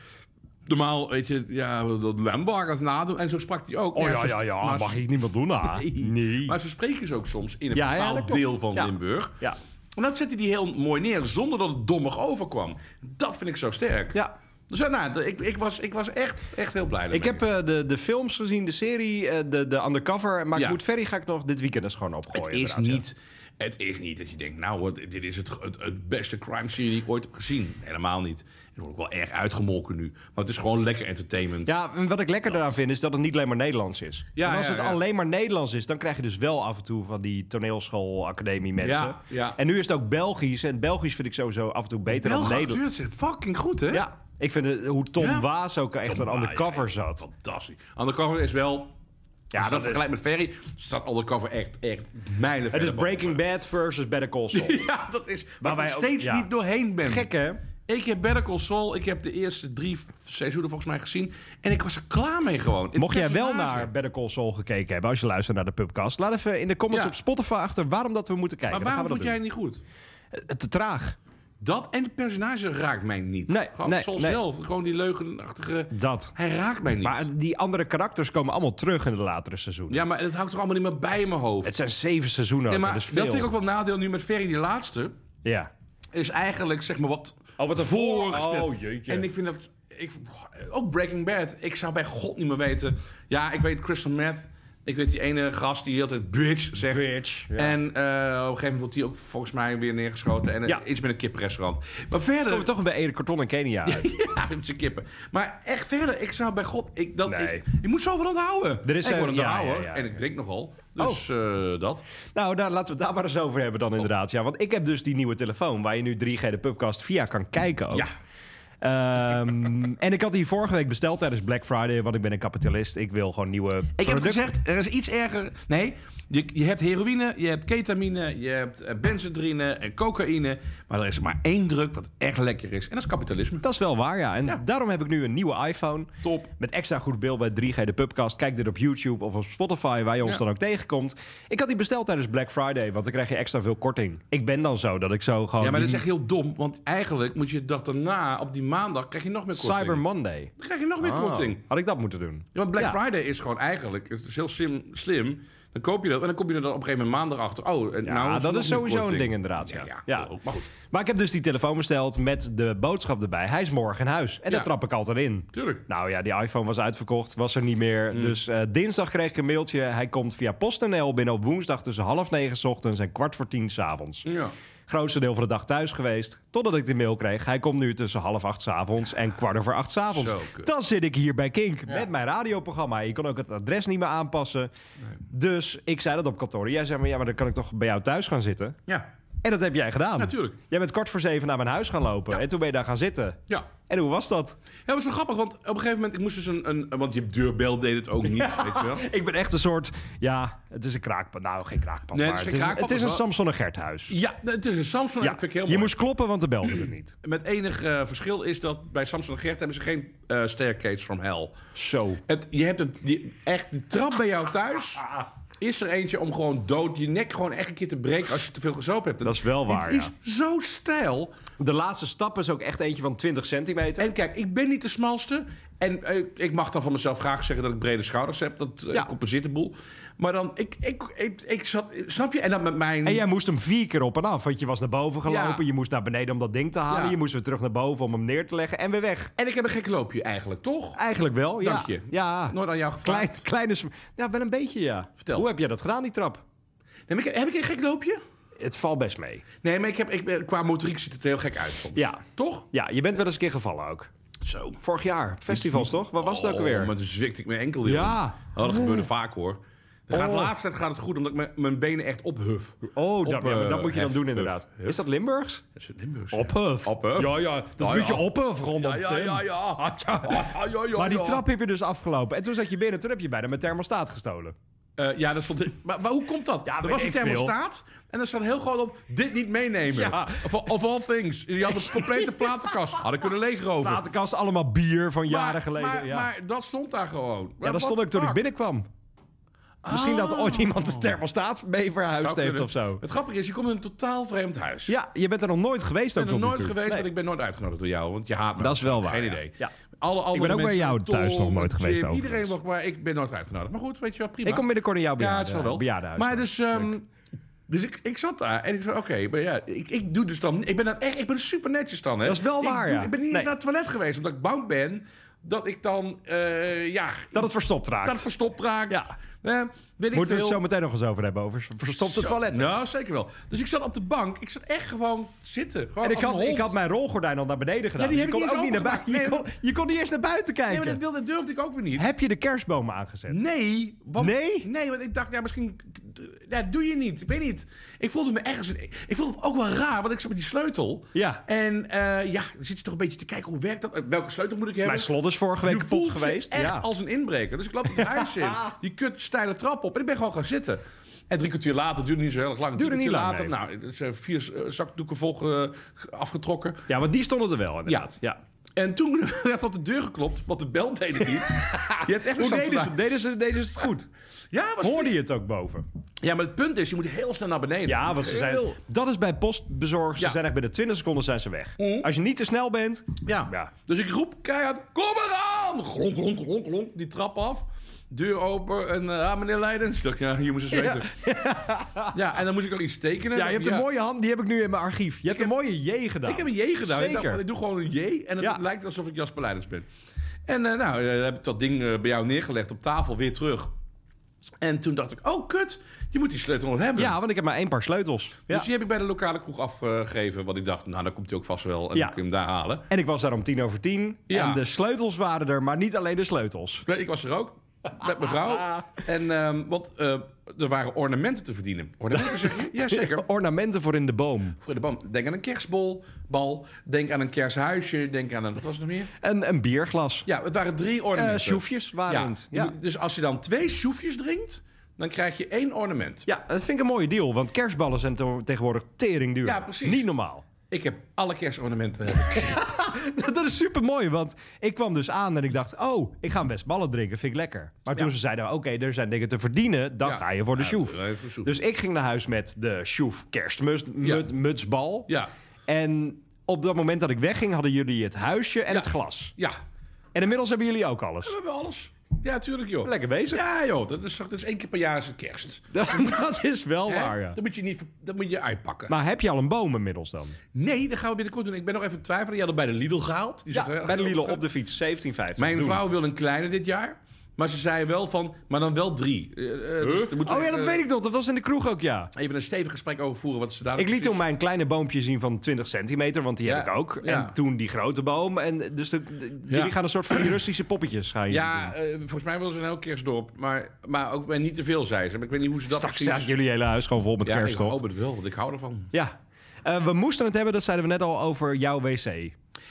C: Normaal, weet je, ja, dat Limburgers nadoen. En zo sprak hij ook.
D: Oh ja,
C: zo-
D: ja, ja,
C: maar
D: mag ik niet meer doen, hè?
C: ah. Nee.
D: <laughs> Nee.
C: Maar ze spreken ze ook soms in een
D: Ja, ja,
C: bepaald
D: dat klopt.
C: deel van
D: Ja.
C: Limburg.
D: Ja.
C: En dat zette hij heel mooi neer, zonder dat het dommig overkwam. Dat vind ik zo sterk.
D: ja.
C: Dus ja, nou, ik, ik was, ik was echt, echt heel blij.
D: Ik
C: daarmee.
D: heb eh, de, de films gezien, de serie, eh, de, de undercover. Maar
C: Ja.
D: ik moet Ferry ga ik nog dit weekend eens gewoon opgooien.
C: het is
D: inderdaad, ja.
C: niet... Het is niet dat je denkt, nou, wat, dit is het, het, het beste crime serie die ik ooit heb gezien. Helemaal niet. Het wordt ook wel erg uitgemolken nu. Maar het is gewoon lekker entertainment.
D: Ja, en wat ik lekker daaraan vind is dat het niet alleen maar Nederlands is.
C: Ja,
D: en als
C: ja,
D: het
C: ja.
D: alleen maar Nederlands is, dan krijg je dus wel af en toe van die toneelschoolacademie mensen.
C: Ja, ja.
D: En nu is het ook Belgisch. En Belgisch vind ik sowieso af en toe beter dan Nederlands.
C: Nederland. fucking goed, hè?
D: Ja, ik vind het- hoe Tom
C: Ja.
D: Waas ook echt
C: Tom
D: aan
C: Wa-
D: undercover
C: ja,
D: zat. Dus
C: Fantastisch. Undercover is wel... Ja, dat,
D: dat is-
C: vergelijkt met Ferry. Staat Undercover echt, echt mijlen
D: Het is
C: verder
D: Breaking Bad versus Better Call
C: <laughs>
D: Saul.
C: boven. <laughs> Ja, dat is... Waar, ik
D: wij
C: nog
D: ook-
C: steeds
D: ja.
C: niet doorheen ben.
D: Gek hè?
C: Ik heb Better Call Saul, ik heb de eerste drie f- seizoenen volgens mij gezien. En ik was er klaar mee gewoon. Het
D: Mocht jij wel
C: personage.
D: naar Better Call Saul gekeken hebben, als je luistert naar de pubcast, laat even in de comments
C: Ja.
D: op Spotify achter waarom dat we moeten kijken.
C: Maar
D: Dan gaan
C: waarom
D: we dat
C: vond jij
D: doen.
C: het niet goed?
D: Eh, Te traag.
C: Dat en het personage raakt mij niet.
D: Nee,
C: gewoon
D: nee,
C: Saul
D: nee.
C: zelf, gewoon die leugenachtige...
D: Dat.
C: Hij raakt mij niet.
D: Maar die andere karakters komen allemaal terug in de latere seizoenen.
C: ja, maar het houdt toch allemaal niet meer bij in mijn hoofd.
D: Het zijn zeven seizoenen.
C: nee,
D: ook,
C: maar
D: dat
C: dat
D: is veel.
C: vind ik ook wel nadeel nu met Ferry, die laatste.
D: Ja.
C: Is eigenlijk, zeg maar, wat
D: Oh, wat een voor-
C: voorgespeeld.
D: Oh, jeetje.
C: En ik vind dat... Ik, ook Breaking Bad. Ik zou bij God niet meer weten... Ja, ik weet Crystal Meth. Ik weet die ene gast die altijd bitch zegt.
D: Bitch, ja.
C: En eh, op een gegeven moment wordt die ook volgens mij weer neergeschoten. En eh,
D: Ja.
C: iets met een kippenrestaurant. Maar verder...
D: Komen we toch een bij Erik Corton en Kenia uit.
C: <laughs> Ja, met zijn kippen. Maar echt verder, ik zou bij God... Ik, dat,
D: Nee.
C: ik, ik moet zoveel onthouden.
D: Er is
C: ik
D: een-
C: word
D: ja,
C: onthouden.
D: ja, ja, Oh.
C: En ik
D: ja.
C: drink nogal. Dus eh, dat.
D: Nou, daar, laten we het daar maar eens over hebben dan inderdaad. Ja, want ik heb dus die nieuwe telefoon waar je nu 3G de Pubcast via kan kijken ook.
C: Ja.
D: Ehm, <laughs> en ik had die vorige week besteld tijdens Black Friday, want ik ben een kapitalist. Ik wil gewoon nieuwe
C: Ik heb
D: producten.
C: gezegd, er is iets erger... Nee, je, je hebt heroïne, je hebt ketamine, je hebt eh, benzodrine en cocaïne. Maar er is maar één druk wat echt lekker is. En dat is kapitalisme.
D: Dat is wel waar, ja. En daarom heb ik nu een nieuwe iPhone.
C: Top.
D: Met extra goed beeld bij 3G de Pubcast. Kijk dit op YouTube of op Spotify, waar je ons
C: Ja.
D: dan ook tegenkomt. Ik had die besteld tijdens Black Friday, want dan krijg je extra veel korting. Ik ben dan zo, dat ik zo gewoon...
C: Ja, maar dat is
D: die
C: echt heel dom. Want eigenlijk moet je dat daarna, op die maandag, krijg je nog meer korting.
D: Cyber Monday.
C: Dan krijg je nog meer korting.
D: Ah, had ik dat moeten doen?
C: Ja, want Black
D: Ja.
C: Friday is gewoon eigenlijk, het is heel slim, slim. Dan koop je dat en dan kom je er dan op een gegeven moment maandag achter. Oh, en
D: Ja,
C: nou
D: Ah, dat
C: nog
D: is
C: een
D: sowieso een
C: korting.
D: ding inderdaad, ja.
C: ja,
D: Ja.
C: klopt. Maar goed,
D: Maar ik heb dus die telefoon besteld met de boodschap erbij. Hij is morgen in huis. En
C: Ja.
D: daar trap ik altijd in.
C: tuurlijk.
D: Nou ja, die iPhone was uitverkocht, was er niet
C: Mm.
D: meer. Dus eh, dinsdag kreeg ik een mailtje. Hij komt via PostNL binnen op woensdag tussen half negen 's ochtends en kwart voor tien 's avonds.
C: Ja.
D: Grootste deel van de dag thuis geweest, totdat ik de mail kreeg. Hij komt nu tussen half acht 's avonds en kwart over acht 's avonds.
C: Zo kut.
D: Dan zit ik hier bij Kink met mijn radioprogramma. Je kon ook het adres niet meer aanpassen. Dus ik zei dat op kantoor. Jij zei, maar ja, maar dan kan ik toch bij jou thuis gaan zitten?
C: Ja.
D: En dat heb jij gedaan.
C: Natuurlijk.
D: Jij bent kwart voor zeven naar mijn huis gaan lopen. En toen ben je daar gaan zitten.
C: Ja.
D: En hoe was dat?
C: Ja, was wel grappig, want op een gegeven moment, ik moest dus een, een want je deurbel deed het ook niet, weet je wel.
D: Ik ben echt een soort... Ja, het is een kraakpand. Nou, geen kraakpand.
C: Nee,
D: maar
C: het is geen
D: het is,
C: kraakpand,
D: het is
C: maar wel-
D: een Samson en Gert huis.
C: Ja, het is een Samsung, ja. dat vind ik heel mooi.
D: je moest kloppen, want de belde het
C: <clears throat>
D: niet.
C: Met enig eh, verschil is dat bij Samsung en Gert hebben ze geen eh staircase from hell.
D: Zo.
C: Het, je hebt het, die- echt de trap bij jou
D: <laughs>
C: thuis. Is er eentje om gewoon dood je nek gewoon echt een keer te breken als je te veel gezopen hebt?
D: Dat is wel waar,
C: Het is zo stijl.
D: De laatste stap is ook echt eentje van 20 centimeter.
C: En kijk, ik ben niet de smalste. En eh, ik mag dan van mezelf graag zeggen dat ik brede schouders heb. Dat eh,
D: Ja.
C: compenseert de boel. Maar dan, ik, ik, ik, ik zat, snap je? En dan met mijn...
D: En jij moest hem vier keer op en af. Want je was naar boven gelopen.
C: Ja.
D: Je moest naar beneden om dat ding te halen.
C: Ja.
D: Je moest weer terug naar boven om hem neer te leggen. En weer weg.
C: En ik heb een gek loopje eigenlijk, toch?
D: Eigenlijk wel, ja.
C: Dank je.
D: Ja.
C: Nooit aan jou
D: Klein,
C: gevraagd.
D: kleine... sm- Ja, wel een beetje, ja.
C: Vertel.
D: Hoe heb jij dat gedaan, die trap?
C: Heb, ik, heb ik een gek loopje?
D: Het valt best mee.
C: Nee, maar ik heb, ik, ben- qua motoriek ziet het er heel gek uit soms.
D: Ja.
C: Toch?
D: Ja, je bent wel eens een keer gevallen ook.
C: Zo.
D: Vorig jaar. Festivals, toch? Wat was het ook
C: Oh,
D: weer?
C: maar toen zwikte ik mijn enkel, joh.
D: Ja.
C: Oh, dat gebeurde vaak, hoor. Dan gaat
D: Oh.
C: laatst tijd gaat het goed, omdat ik mijn, mijn benen echt ophuf.
D: Oh, dat,
C: Op,
D: ja, maar dat
C: eh,
D: moet je dan
C: hef,
D: doen
C: huf,
D: inderdaad.
C: huf.
D: Is dat Limburgs?
C: Dat is een Limburgs.
D: Ophef.
C: Ophef.
D: Ja, ja. Dat is
C: Ja,
D: een beetje
C: ja.
D: ophef rondom
C: Ja, ja,
D: Tim.
C: ja, ja.
D: <laughs> Ah, tja.
C: Ah, ja, ja,
D: Maar die
C: ja.
D: trap heb je dus afgelopen. En toen zat je binnen, toen heb je bijna mijn thermostaat gestolen.
C: Eh, ja, dat stond. Maar, maar hoe komt dat? er
D: weet
C: was een
D: ik veel.
C: thermostaat en er staat heel groot op: dit niet meenemen.
D: Ja.
C: Of, of all things. Die
D: <laughs>
C: hadden een complete platenkast. Hadden kunnen leegroven.
D: Platenkast, allemaal bier van
C: Maar-
D: jaren geleden.
C: Maar,
D: ja.
C: maar dat stond daar gewoon.
D: ja, dat stond ook toen ik binnenkwam. Misschien dat
C: Oh.
D: ooit iemand de thermostaat mee verhuisd heeft of zo.
C: Het grappige is, je komt in een totaal vreemd huis.
D: Ja, je bent er nog nooit geweest ook
C: Ik ben er
D: tot nu
C: nooit
D: toe.
C: geweest,
D: Nee.
C: want ik ben nooit uitgenodigd door jou. Want je haat me.
D: Dat is wel waar,
C: Geen
D: ja.
C: idee.
D: Ja.
C: Alle andere
D: ook bij
C: mensen
D: jou
C: zijn
D: thuis
C: dol,
D: nog nooit
C: Jim,
D: geweest,
C: Iedereen
D: overigens.
C: nog, maar ik ben nooit uitgenodigd. Maar goed, weet je wel, prima.
D: Ik kom binnenkort in jouw
C: Ja,
D: bejaarden,
C: het zal wel.
D: bejaardenhuis.
C: Maar dus, ehm, dus ik, ik zat daar en ik zei, oké, maar ja, ik, ik doe dus dan... Ik ben dan echt, ik ben super netjes dan, hè.
D: Dat is wel
C: Ik
D: waar,
C: doe-
D: ja.
C: Ik ben niet eens
D: Nee.
C: naar het toilet geweest, omdat ik bang ben dat ik dan, eh, ja...
D: dat het verstopt raakt.
C: dat verstopt raakt.
D: Ja.
C: Eh, weet ik
D: Moeten we
C: veel.
D: het zo meteen nog eens over hebben, over verstopte
C: Zo-
D: toiletten.
C: Nou, zeker wel. Dus ik zat op de bank. Ik zat echt gewoon zitten. Gewoon
D: En ik
C: als
D: had,
C: een
D: ik
C: hond.
D: had mijn rolgordijn al naar beneden gedaan.
C: Ja, die
D: je
C: heb
D: kon
C: ik niet
D: ook niet
C: eens
D: naar buiten.
C: opengemaakt.
D: je,
C: Nee,
D: kon, je kon niet eerst naar buiten
C: Nee,
D: kijken.
C: maar dat, wilde, dat durfde ik ook weer niet.
D: Heb je de kerstbomen aangezet?
C: Nee, want,
D: Nee?
C: Nee, want ik dacht, ja, misschien... Ja, doe je niet. Ik weet niet. Ik voelde me ergens... Ik voelde het ook wel raar, want ik zat met die sleutel.
D: Ja.
C: En eh, ja, dan zit je toch een beetje te kijken, hoe werkt dat? Eh, Welke sleutel moet ik hebben?
D: Mijn slot is vorige week
C: Je
D: kapot
C: voelt je
D: geweest.
C: echt
D: Ja.
C: als een inbreker. Dus ik loop het huis
D: <laughs>
C: in. Die kut steile trap op. En ik ben gewoon gaan zitten. En drie kwartier later, duurde niet zo heel erg lang.
D: Duurde
C: drie
D: niet
C: kwartier
D: lang,
C: later, nou, er zijn vier eh, zakdoeken vol eh, afgetrokken.
D: ja, want die stonden er wel inderdaad. Ja.
C: En toen <laughs> werd op de deur geklopt, want de bel deed het
D: <laughs>
C: niet. Je hebt echt een
D: Hoe deden ze,
C: Samsonite.
D: deden, ze, deden ze het goed?
C: Ja, was
D: Hoorde je het ook boven?
C: Ja, maar het punt is, je moet heel snel naar beneden.
D: Ja, want ze zijn,
C: Heel-
D: dat is bij postbezorgers.
C: Ja.
D: Ze zijn echt binnen 20 seconden zijn ze weg.
C: Mhm.
D: Als je niet te snel bent...
C: Ja.
D: Ja.
C: Dus ik roep keihard, kom eraan! Glonk, glonk, glonk, glonk, die trap af. Deur open en eh, ah, meneer Leidens. Ik dacht, ja, hier moest ze weten. <laughs> Ja. en dan moest ik al iets tekenen.
D: Ja, je hebt een mooie hand. Die heb ik nu in mijn archief. Je hebt een
C: heb-
D: mooie J gedaan.
C: Ik heb een J gedaan. Ik, dacht,
D: Zeker.
C: van, ik doe gewoon een J en het
D: Ja.
C: lijkt alsof ik Jasper Leidens ben. En eh, nou, eh, heb ik dat ding eh, bij jou neergelegd op tafel, weer terug. En toen dacht ik, oh kut, je moet die sleutel nog hebben.
D: Ja, want ik heb maar één paar sleutels. Ja.
C: Dus die heb ik bij de lokale kroeg afgegeven. Want ik dacht, nou, dan komt hij ook vast wel. En
D: Ja.
C: dan kun je hem daar halen.
D: En ik was daar om tien over tien.
C: Ja.
D: En de sleutels waren er, maar niet alleen de sleutels.
C: Nee, Ik was er ook. Met mijn vrouw.
D: <laughs>
C: En, ehm, want eh, er waren ornamenten te verdienen. Ornamenten zeg je?
D: <laughs>
C: Jazeker.
D: Ornamenten voor in de boom.
C: Voor de bam. Denk aan een kerstbol. Bal. Denk aan een kersthuisje. Denk aan een... Wat was het nog meer?
D: En een bierglas.
C: Ja, het waren drie
D: Eh
C: ornamenten.
D: sjoefjes waren
C: Ja.
D: het. Ja.
C: Dus als je dan twee sjoefjes drinkt, dan krijg je één ornament.
D: ja, dat vind ik een mooie deal. Want kerstballen zijn to- tegenwoordig tering duur.
C: Ja, precies.
D: Niet normaal. <laughs>
C: Ik heb alle kerstornamenten. heb ik.
D: dat is super mooi. Want ik kwam dus aan en ik dacht... Oh, ik ga best ballen drinken. Vind ik lekker. Maar toen
C: Ja.
D: ze zeiden... Oké, er zijn dingen te verdienen. <laughs> Dan
C: Ja.
D: ga je voor de
C: Ja,
D: sjoef.
C: dan ga je voor de sjoef.
D: Dus ik ging naar huis met de sjoef
C: Ja.
D: kerstmutsbal.
C: ja.
D: En op dat moment dat ik wegging... hadden jullie het huisje en
C: Ja.
D: het glas.
C: Ja.
D: En inmiddels hebben jullie ook alles.
C: We hebben alles. Ja, tuurlijk joh.
D: Lekker bezig.
C: Ja joh, dat is, dat is één keer per jaar is het kerst.
D: <laughs> dat is wel
C: Hè?
D: waar, ja.
C: Dat moet je niet, ver- dat moet je uitpakken.
D: Maar heb je al een boom inmiddels dan?
C: nee, dat gaan we binnenkort doen. Ik ben nog even twijfelen. Je had hem bij de Lidl gehaald. Die
D: Ja,
C: zat er-
D: bij de Lidl op de fiets, 17,50.
C: Mijn
D: Doen.
C: vrouw wil een kleine dit jaar. Maar ze zei wel van, maar dan wel drie. Eh, eh, dus daar moeten we
D: Oh ja, dat
C: even-
D: weet ik nog. Dat was in de kroeg ook, ja.
C: Even een stevig gesprek over voeren wat ze daar...
D: Ik liet toen mijn kleine boompje zien van 20 centimeter, want die heb
C: Ja,
D: ik ook.
C: ja.
D: En toen die grote boom. En dus de, de-
C: Ja.
D: jullie gaan een soort van die Russische poppetjes gaan jullie doen.
C: Ja, eh, volgens mij wil ze een heel kerstdorp. Maar, maar ook maar niet te veel, zei ze. Maar ik weet niet hoe ze dat
D: Straks
C: precies...
D: staat jullie hele huis gewoon vol met
C: ja, ik
D: kerststof.
C: hoop het wel, want ik hou
D: <laughs>
C: ervan.
D: Ja. Eh, we moesten het hebben, dat zeiden we net al, over jouw wc. <laughs>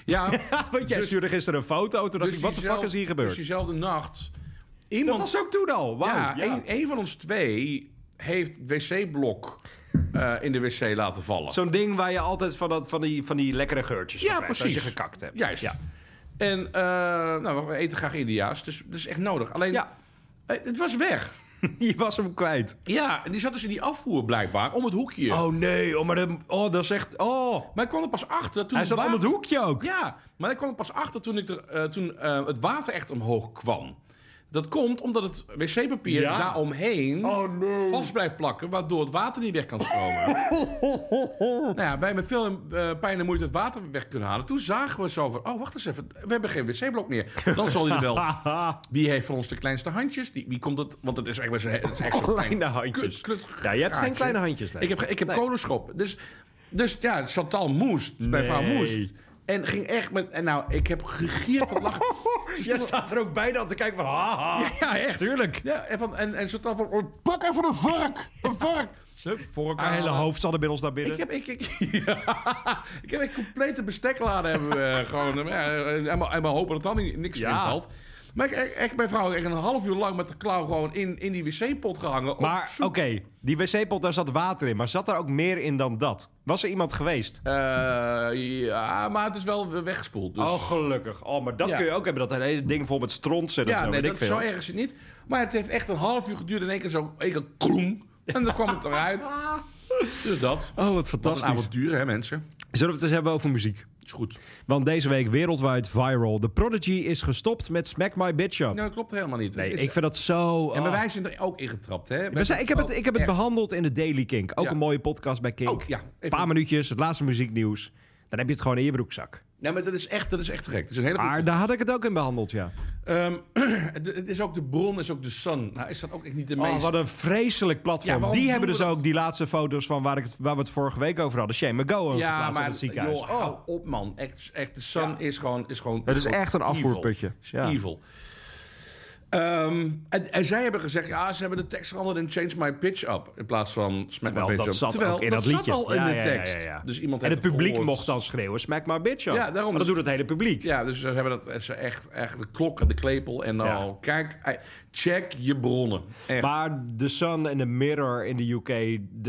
C: Ja,
D: Want jij
C: Dus-
D: stuurde gisteren een foto, toen dacht ik, wat de fuck
C: diezelfde-
D: is hier gebeurd?
C: Dus diezelfde nacht...
D: dat
C: Iemand,
D: was ook toen al. Wauw.
C: ja,
D: ja.
C: Een, een van ons twee heeft wc-blok eh, in de wc laten vallen.
D: Zo'n ding waar je altijd van, dat, van, die, van die lekkere geurtjes van
C: Ja,
D: krijgt,
C: precies.
D: Als je gekakt hebt.
C: Juist.
D: Ja. <laughs>
C: En eh, nou, we eten graag Indiaas, dus dat is echt nodig. Alleen,
D: Ja.
C: eh, het was weg.
D: Je was hem kwijt.
C: Ja, en die zat dus in die afvoer blijkbaar, om het hoekje.
D: Oh nee, oh, maar de, oh, dat is echt... Oh,
C: Maar ik kwam er pas achter toen
D: hij
C: het
D: zat aan
C: water-
D: het hoekje ook.
C: Ja, maar ik kwam er pas achter toen, ik er, eh, toen eh, het water echt omhoog kwam. Dat komt omdat het wc-papier
D: Ja.
C: daaromheen
D: Oh, nee.
C: vast blijft plakken, waardoor het water niet weg kan stromen.
D: <laughs>
C: nou ja, wij hebben veel eh, pijn en moeite het water weg kunnen halen. Toen zagen we zo van, oh wacht eens even, we hebben geen wc-blok meer. Dan zal hij er wel.
D: <laughs>
C: Wie heeft van ons de kleinste handjes? Die, wie komt dat? Want het is echt wel zo'n dat is echt zo'n klein
D: Kleine
C: kut-
D: handjes.
C: kut-
D: Ja, je hebt geen
C: gaatje.
D: kleine handjes. nee.
C: Ik heb, ik heb kolenschop. Dus, dus ja, Chantal moest. Bij vrouw
D: Nee.
C: moest. En ging echt met... En nou, ik heb gegierd van lachen.
D: <laughs> Jij staat er ook bijna te kijken van... Haha.
C: Ja, echt.
D: Tuurlijk.
C: Ja, en, van, en, en Chantal van... oh, Pak even een vork. Een vork. Ze vork
D: Haar hele hoofd zat inmiddels naar binnen.
C: Ik heb, ik, <laughs> ik, ja, ik heb een complete bestekladen hebben we gewoon. eh, ja, En maar, en maar hopen dat dan niet- niks
D: Ja.
C: invalt. Maar ik, ik- echt, mijn vrouw echt een half uur lang met de klauw gewoon in, in die wc-pot gehangen. op
D: maar oké,
C: zoek.
D: die wc-pot, daar zat water in. Maar zat daar ook meer in dan dat? Was er iemand geweest?
C: Eh, ja, maar het is wel weggespoeld. Dus.
D: gelukkig. Oh, maar dat
C: Ja.
D: kun je ook hebben. Dat hele ding vol met stront en
C: Ja,
D: zo,
C: nee,
D: weet
C: dat
D: ik veel.
C: zo erg is het niet. Maar het heeft echt een half uur geduurd. In één keer zo, één keer kroem. En dan kwam het
D: <laughs>
C: eruit. Dus dat.
D: Oh, wat
C: Dat is
D: fantastisch.
C: avontuur, hè, mensen?
D: Zullen we het eens hebben over muziek?
C: Is goed.
D: Want deze week wereldwijd viral. The Prodigy is gestopt met Smack My Bitch Up.
C: Nou, dat klopt helemaal niet.
D: nee,
C: Het is-
D: ik vind dat zo...
C: En
D: ah.
C: maar wij zijn er ook ingetrapt, hè?
D: We zijn- ik heb het, ik heb het
C: behandeld.
D: behandeld in de Daily Kink. Ook
C: Ja.
D: een mooie podcast bij Kink.
C: Oh, ja.
D: Een
C: Even-
D: paar minuutjes, het laatste muzieknieuws. Dan heb je het gewoon in je broekzak.
C: Nee, maar dat is echt, dat is echt gek. Het is een hele goede-
D: Maar daar had ik het ook in behandeld, ja.
C: Ehm, <clears throat> het, het is ook de bron, is ook de sun. Nou, is dat ook echt niet de meest...
D: Oh, wat een vreselijk
C: Ja,
D: platform.
C: waarom
D: die
C: doen
D: hebben
C: we
D: dus
C: dat?
D: ook die laatste foto's van waar, ik het, waar we het vorige week over hadden. Shane McGowan
C: ja,
D: geplaatst in
C: maar
D: het ziekenhuis. Oh.
C: joh, hou op, man. Echt, echt de sun
D: Ja.
C: is gewoon... Is gewoon
D: Het is
C: gewoon
D: echt een
C: evil.
D: afvoerputje.
C: Is
D: Ja.
C: Evil. Ehm, en, en zij hebben gezegd, ja, ze hebben de tekst veranderd in Change My Pitch Up. In plaats van Smack
D: Terwijl
C: My Pitch
D: dat
C: Up.
D: zat ook in dat liedje.
C: zat al in
D: Ja,
C: de
D: ja, ja,
C: tekst.
D: ja, ja.
C: Dus iemand
D: en het
C: heeft
D: publiek
C: gehoord.
D: mocht dan schreeuwen, smack my bitch up.
C: Ja, daarom.
D: Maar dat
C: Dus-
D: doet het hele publiek.
C: Ja, dus ze hebben dat ze echt, echt de klok en de klepel en al.
D: Ja.
C: Kijk, eh, check je bronnen. Echt.
D: Maar The Sun en The Mirror in de UK...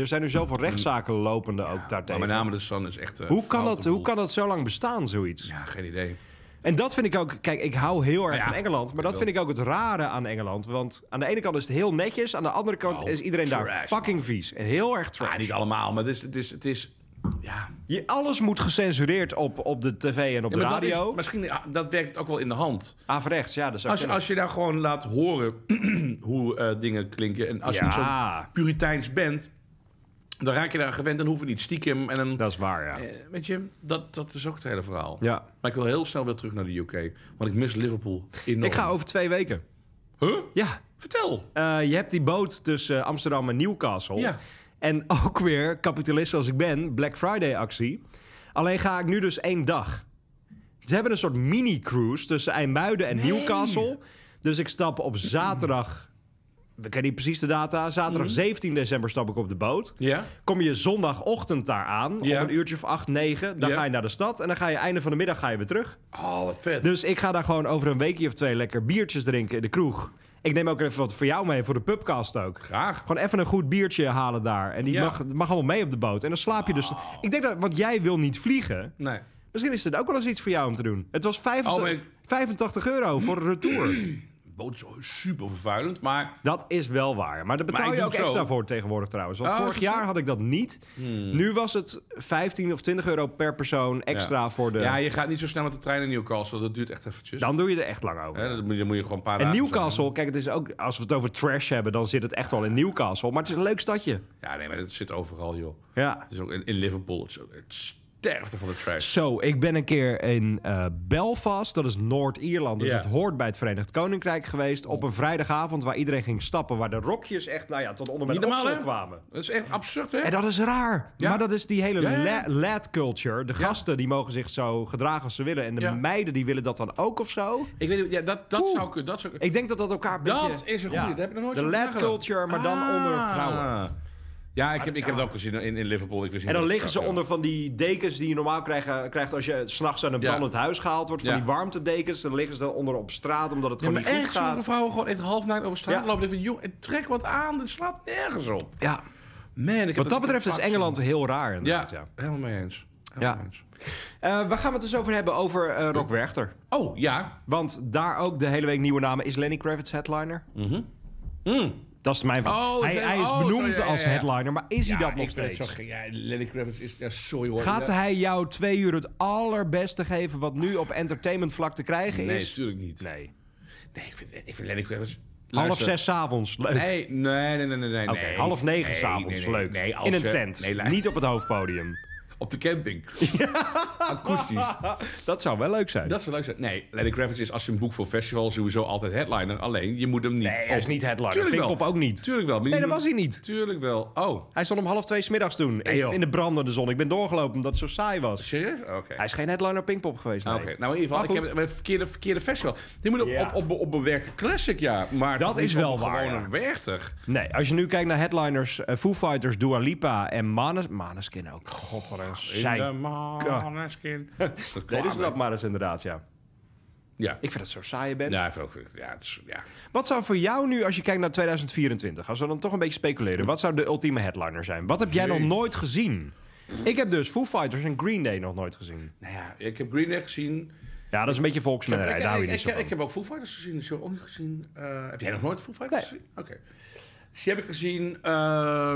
D: er zijn nu zoveel rechtszaken lopende ook
C: Mm-hmm. Maar
D: daartegen.
C: met name de Sun is echt... eh,
D: hoe, kan dat,
C: foute
D: hoe
C: boel.
D: kan dat zo lang bestaan, zoiets?
C: Ja, geen idee.
D: En dat vind ik ook... Kijk, ik hou heel erg
C: Ja,
D: van Engeland. Maar dat
C: wel.
D: vind ik ook het rare aan Engeland. Want aan de ene kant is het heel netjes. Aan de andere kant
C: Oh,
D: is iedereen daar
C: trash,
D: fucking vies. En heel erg trash.
C: Ah, niet allemaal, maar het is... Het is, het is ja,
D: Je, alles moet gecensureerd op, op de tv en op
C: Ja,
D: de
C: maar dat is-
D: radio.
C: misschien, ah, dat werkt ook wel in de hand.
D: Averechts, ja, dat zou
C: Als je,
D: kunnen.
C: als je daar gewoon laat horen <clears throat> hoe eh, dingen klinken. En als je
D: Ja.
C: niet zo puriteins bent, dan raak je daar gewend en hoef je niet stiekem. En dan,
D: Dat is waar, ja.
C: eh, weet je, dat, dat is ook het hele verhaal.
D: ja.
C: Maar ik wil heel snel weer terug naar de UK. Want ik mis Liverpool enorm.
D: Ik ga over twee weken.
C: Huh?
D: Ja.
C: Vertel.
D: Eh, je hebt die boot tussen Amsterdam en Newcastle.
C: Ja.
D: En <laughs> ook weer, kapitalist als ik ben, Black Friday actie. Alleen ga ik nu dus één dag. Ze hebben een soort mini-cruise tussen IJmuiden en Newcastle. Dus ik stap op zaterdag... We kennen niet precies de data. Zaterdag 17 december stap ik op de boot.
C: Mhm. Ja?
D: Kom je zondagochtend daar aan,
C: Ja.
D: om een uurtje of acht, negen. Dan
C: Ja.
D: ga je naar de stad en dan ga je einde van de middag ga je weer terug.
C: Oh, wat vet.
D: <laughs> Dus ik ga daar gewoon over een weekje of twee lekker biertjes drinken in de kroeg. Ik neem ook even wat voor jou mee, voor de pubcast ook.
C: Graag.
D: Gewoon even een goed biertje halen daar. En die
C: Ja.
D: mag, mag allemaal mee op de boot. En dan slaap je dus... Ik denk dat, want jij wil niet vliegen.
C: Nee.
D: Misschien is dit ook wel eens iets voor jou om te doen. Het was 85,
C: Oh, maar ik-
D: 85 euro voor een retour.
C: boot is super vervuilend, maar
D: Dat is wel waar. Maar daar betaal
C: Maar ik
D: je
C: doe
D: ook
C: het zo.
D: extra voor tegenwoordig trouwens. Want
C: Oh, Hmm.
D: vorig
C: is dat zo?
D: jaar had ik dat niet. Nu was het 15 of 20 euro per persoon extra
C: Ja.
D: voor de...
C: ja, je gaat niet zo snel met de trein naar Newcastle. Dat duurt echt eventjes.
D: Dan doe je er echt lang over.
C: Hè, dan, moet je, dan moet je gewoon een paar
D: en
C: dagen
D: Newcastle, kijk, het is ook, als we het over trash hebben, dan zit het echt wel in Newcastle. Maar het is een leuk stadje.
C: zijn. Ja, nee, maar dat zit overal, joh.
D: Ja.
C: Het is ook in, in Liverpool. Het, is ook- het sterfte van de trash.
D: Zo, ik ben een keer in eh, Belfast, dat is Noord-Ierland, dus
C: Ja.
D: het hoort bij het Verenigd Koninkrijk geweest. Op een vrijdagavond waar iedereen ging stappen, waar de rokjes echt, nou ja, tot onder mijn
C: Niet normaal,
D: oksel
C: hè?
D: kwamen.
C: Dat is echt absurd, hè?
D: En dat is raar.
C: Ja.
D: Maar dat is die hele
C: Ja, ja,
D: la-
C: ja.
D: lad culture. De gasten die mogen zich zo gedragen als ze willen. En de
C: Ja.
D: meiden die willen dat dan ook of zo.
C: Ik weet niet, ja, dat, dat
D: Oeh.
C: zou kunnen. Dat, zou,
D: Ik denk dat dat elkaar een
C: dat
D: beetje-
C: is een goede.
D: Ja.
C: Dat heb ik nog nooit
D: De
C: zo
D: lad
C: nagedacht.
D: culture, maar dan onder
C: Ah.
D: vrouwen.
C: Ja, ik heb, ik heb het ook gezien in, in Liverpool. Ik wist niet
D: En
C: dat
D: dan
C: het
D: liggen ze
C: zou-
D: onder van die dekens die je normaal krijgen, krijgt als je s'nachts aan een
C: Ja.
D: brandend huis gehaald wordt. Van
C: Ja.
D: die warmtedekens. Dan liggen ze dan onder op straat omdat het
C: Ja,
D: gewoon
C: maar
D: niet goed
C: echt, sommige
D: gaat.
C: vrouwen gewoon echt half naakt over straat
D: Ja.
C: lopen. Ik denk van, joh, en trek wat aan, dit slaat nergens op.
D: Ja.
C: Man, ik heb
D: Wat dat
C: ik heb
D: betreft is
C: vaak gezien.
D: Engeland heel raar.
C: Ja,
D: inderdaad, Ja.
C: helemaal mee eens. Helemaal
D: Ja.
C: mee eens.
D: Eh, waar gaan we het dus over hebben? Over eh Rock Werchter.
C: Oh, ja.
D: Want daar ook de hele week nieuwe namen. Is Lenny Kravitz headliner? Mm. Dat is mijn vraag.
C: Mhm. Oh,
D: hij,
C: is hij-
D: hij is
C: oh,
D: benoemd
C: sorry, ja, ja,
D: als
C: ja.
D: headliner, maar is hij
C: Ja,
D: dat nog
C: ik vind het
D: steeds?
C: zo gek. ja, Lenny Kravitz is... Ja, sorry hoor.
D: Gaat
C: Ja.
D: hij jou twee uur het allerbeste geven wat nu op entertainmentvlak te krijgen
C: Nee,
D: is?
C: natuurlijk niet. Nee,
D: Nee.
C: ik vind, ik vind Lenny Kravitz...
D: Half
C: Luister.
D: zes 's avonds. Leuk.
C: Nee, nee, nee, nee, nee. nee
D: Oké,
C: nee.
D: half negen
C: Nee,
D: s'avonds.
C: nee, nee,
D: Leuk.
C: nee, als
D: In een
C: ze-
D: tent.
C: Nee, lu-
D: Niet op het hoofdpodium.
C: op de camping. <laughs> Akoestisch.
D: Dat zou wel leuk zijn.
C: Dat zou leuk zijn. Nee, Lenny Kravitz is als je hem boekt voor festival sowieso altijd headliner. Alleen, je moet hem niet...
D: nee, hij is
C: op-
D: niet headliner.
C: Tuurlijk wel.
D: Pinkpop ook niet.
C: Tuurlijk wel. maar
D: Nee,
C: je
D: dat
C: moet-
D: was hij niet.
C: Tuurlijk wel. Oh,
D: Hij stond om half twee 's middags toen.
C: joh.
D: in de brandende zon. Ik ben doorgelopen omdat het zo saai was.
C: serieus? Oké.
D: Hij is geen headliner Pinkpop geweest. nee.
C: Oké, nou in ieder geval,
D: Maar
C: ik heb het verkeerde, verkeerde festival. Die moet op,
D: Ja.
C: op, op, op bewerkte classic, ja. Maar
D: Dat
C: toch niet
D: is wel
C: op een
D: waar,
C: gewone
D: ja.
C: werktig.
D: Nee, als je nu kijkt naar headliners, eh, Foo Fighters, Dua Lipa en Manes, Maneskin ook. God, wat een
C: <laughs>
D: zijn.
C: maneskin.
D: Dat is dat maar eens inderdaad, ja.
C: Ja.
D: Ik vind dat zo'n saaie band.
C: Ja, ik vind ook- ja, het is- ja.
D: Wat zou voor jou nu, als je kijkt naar 2024, als we dan toch een beetje speculeren, wat zou de ultieme headliner zijn? Wat heb jij nog
C: Jezus.
D: nooit gezien? Ik heb dus Foo Fighters en Green Day nog nooit gezien.
C: Nou ja, ik heb Green Day gezien.
D: Ja, dat is een beetje
C: ik,
D: volksmennerij, daar hou je
C: ik,
D: niet
C: ik,
D: zo
C: ik,
D: van.
C: heb ook Foo Fighters gezien, dus ik heb ook niet gezien. Eh, heb jij nog nooit Foo Fighters gezien? Oké. Dus die heb ik gezien.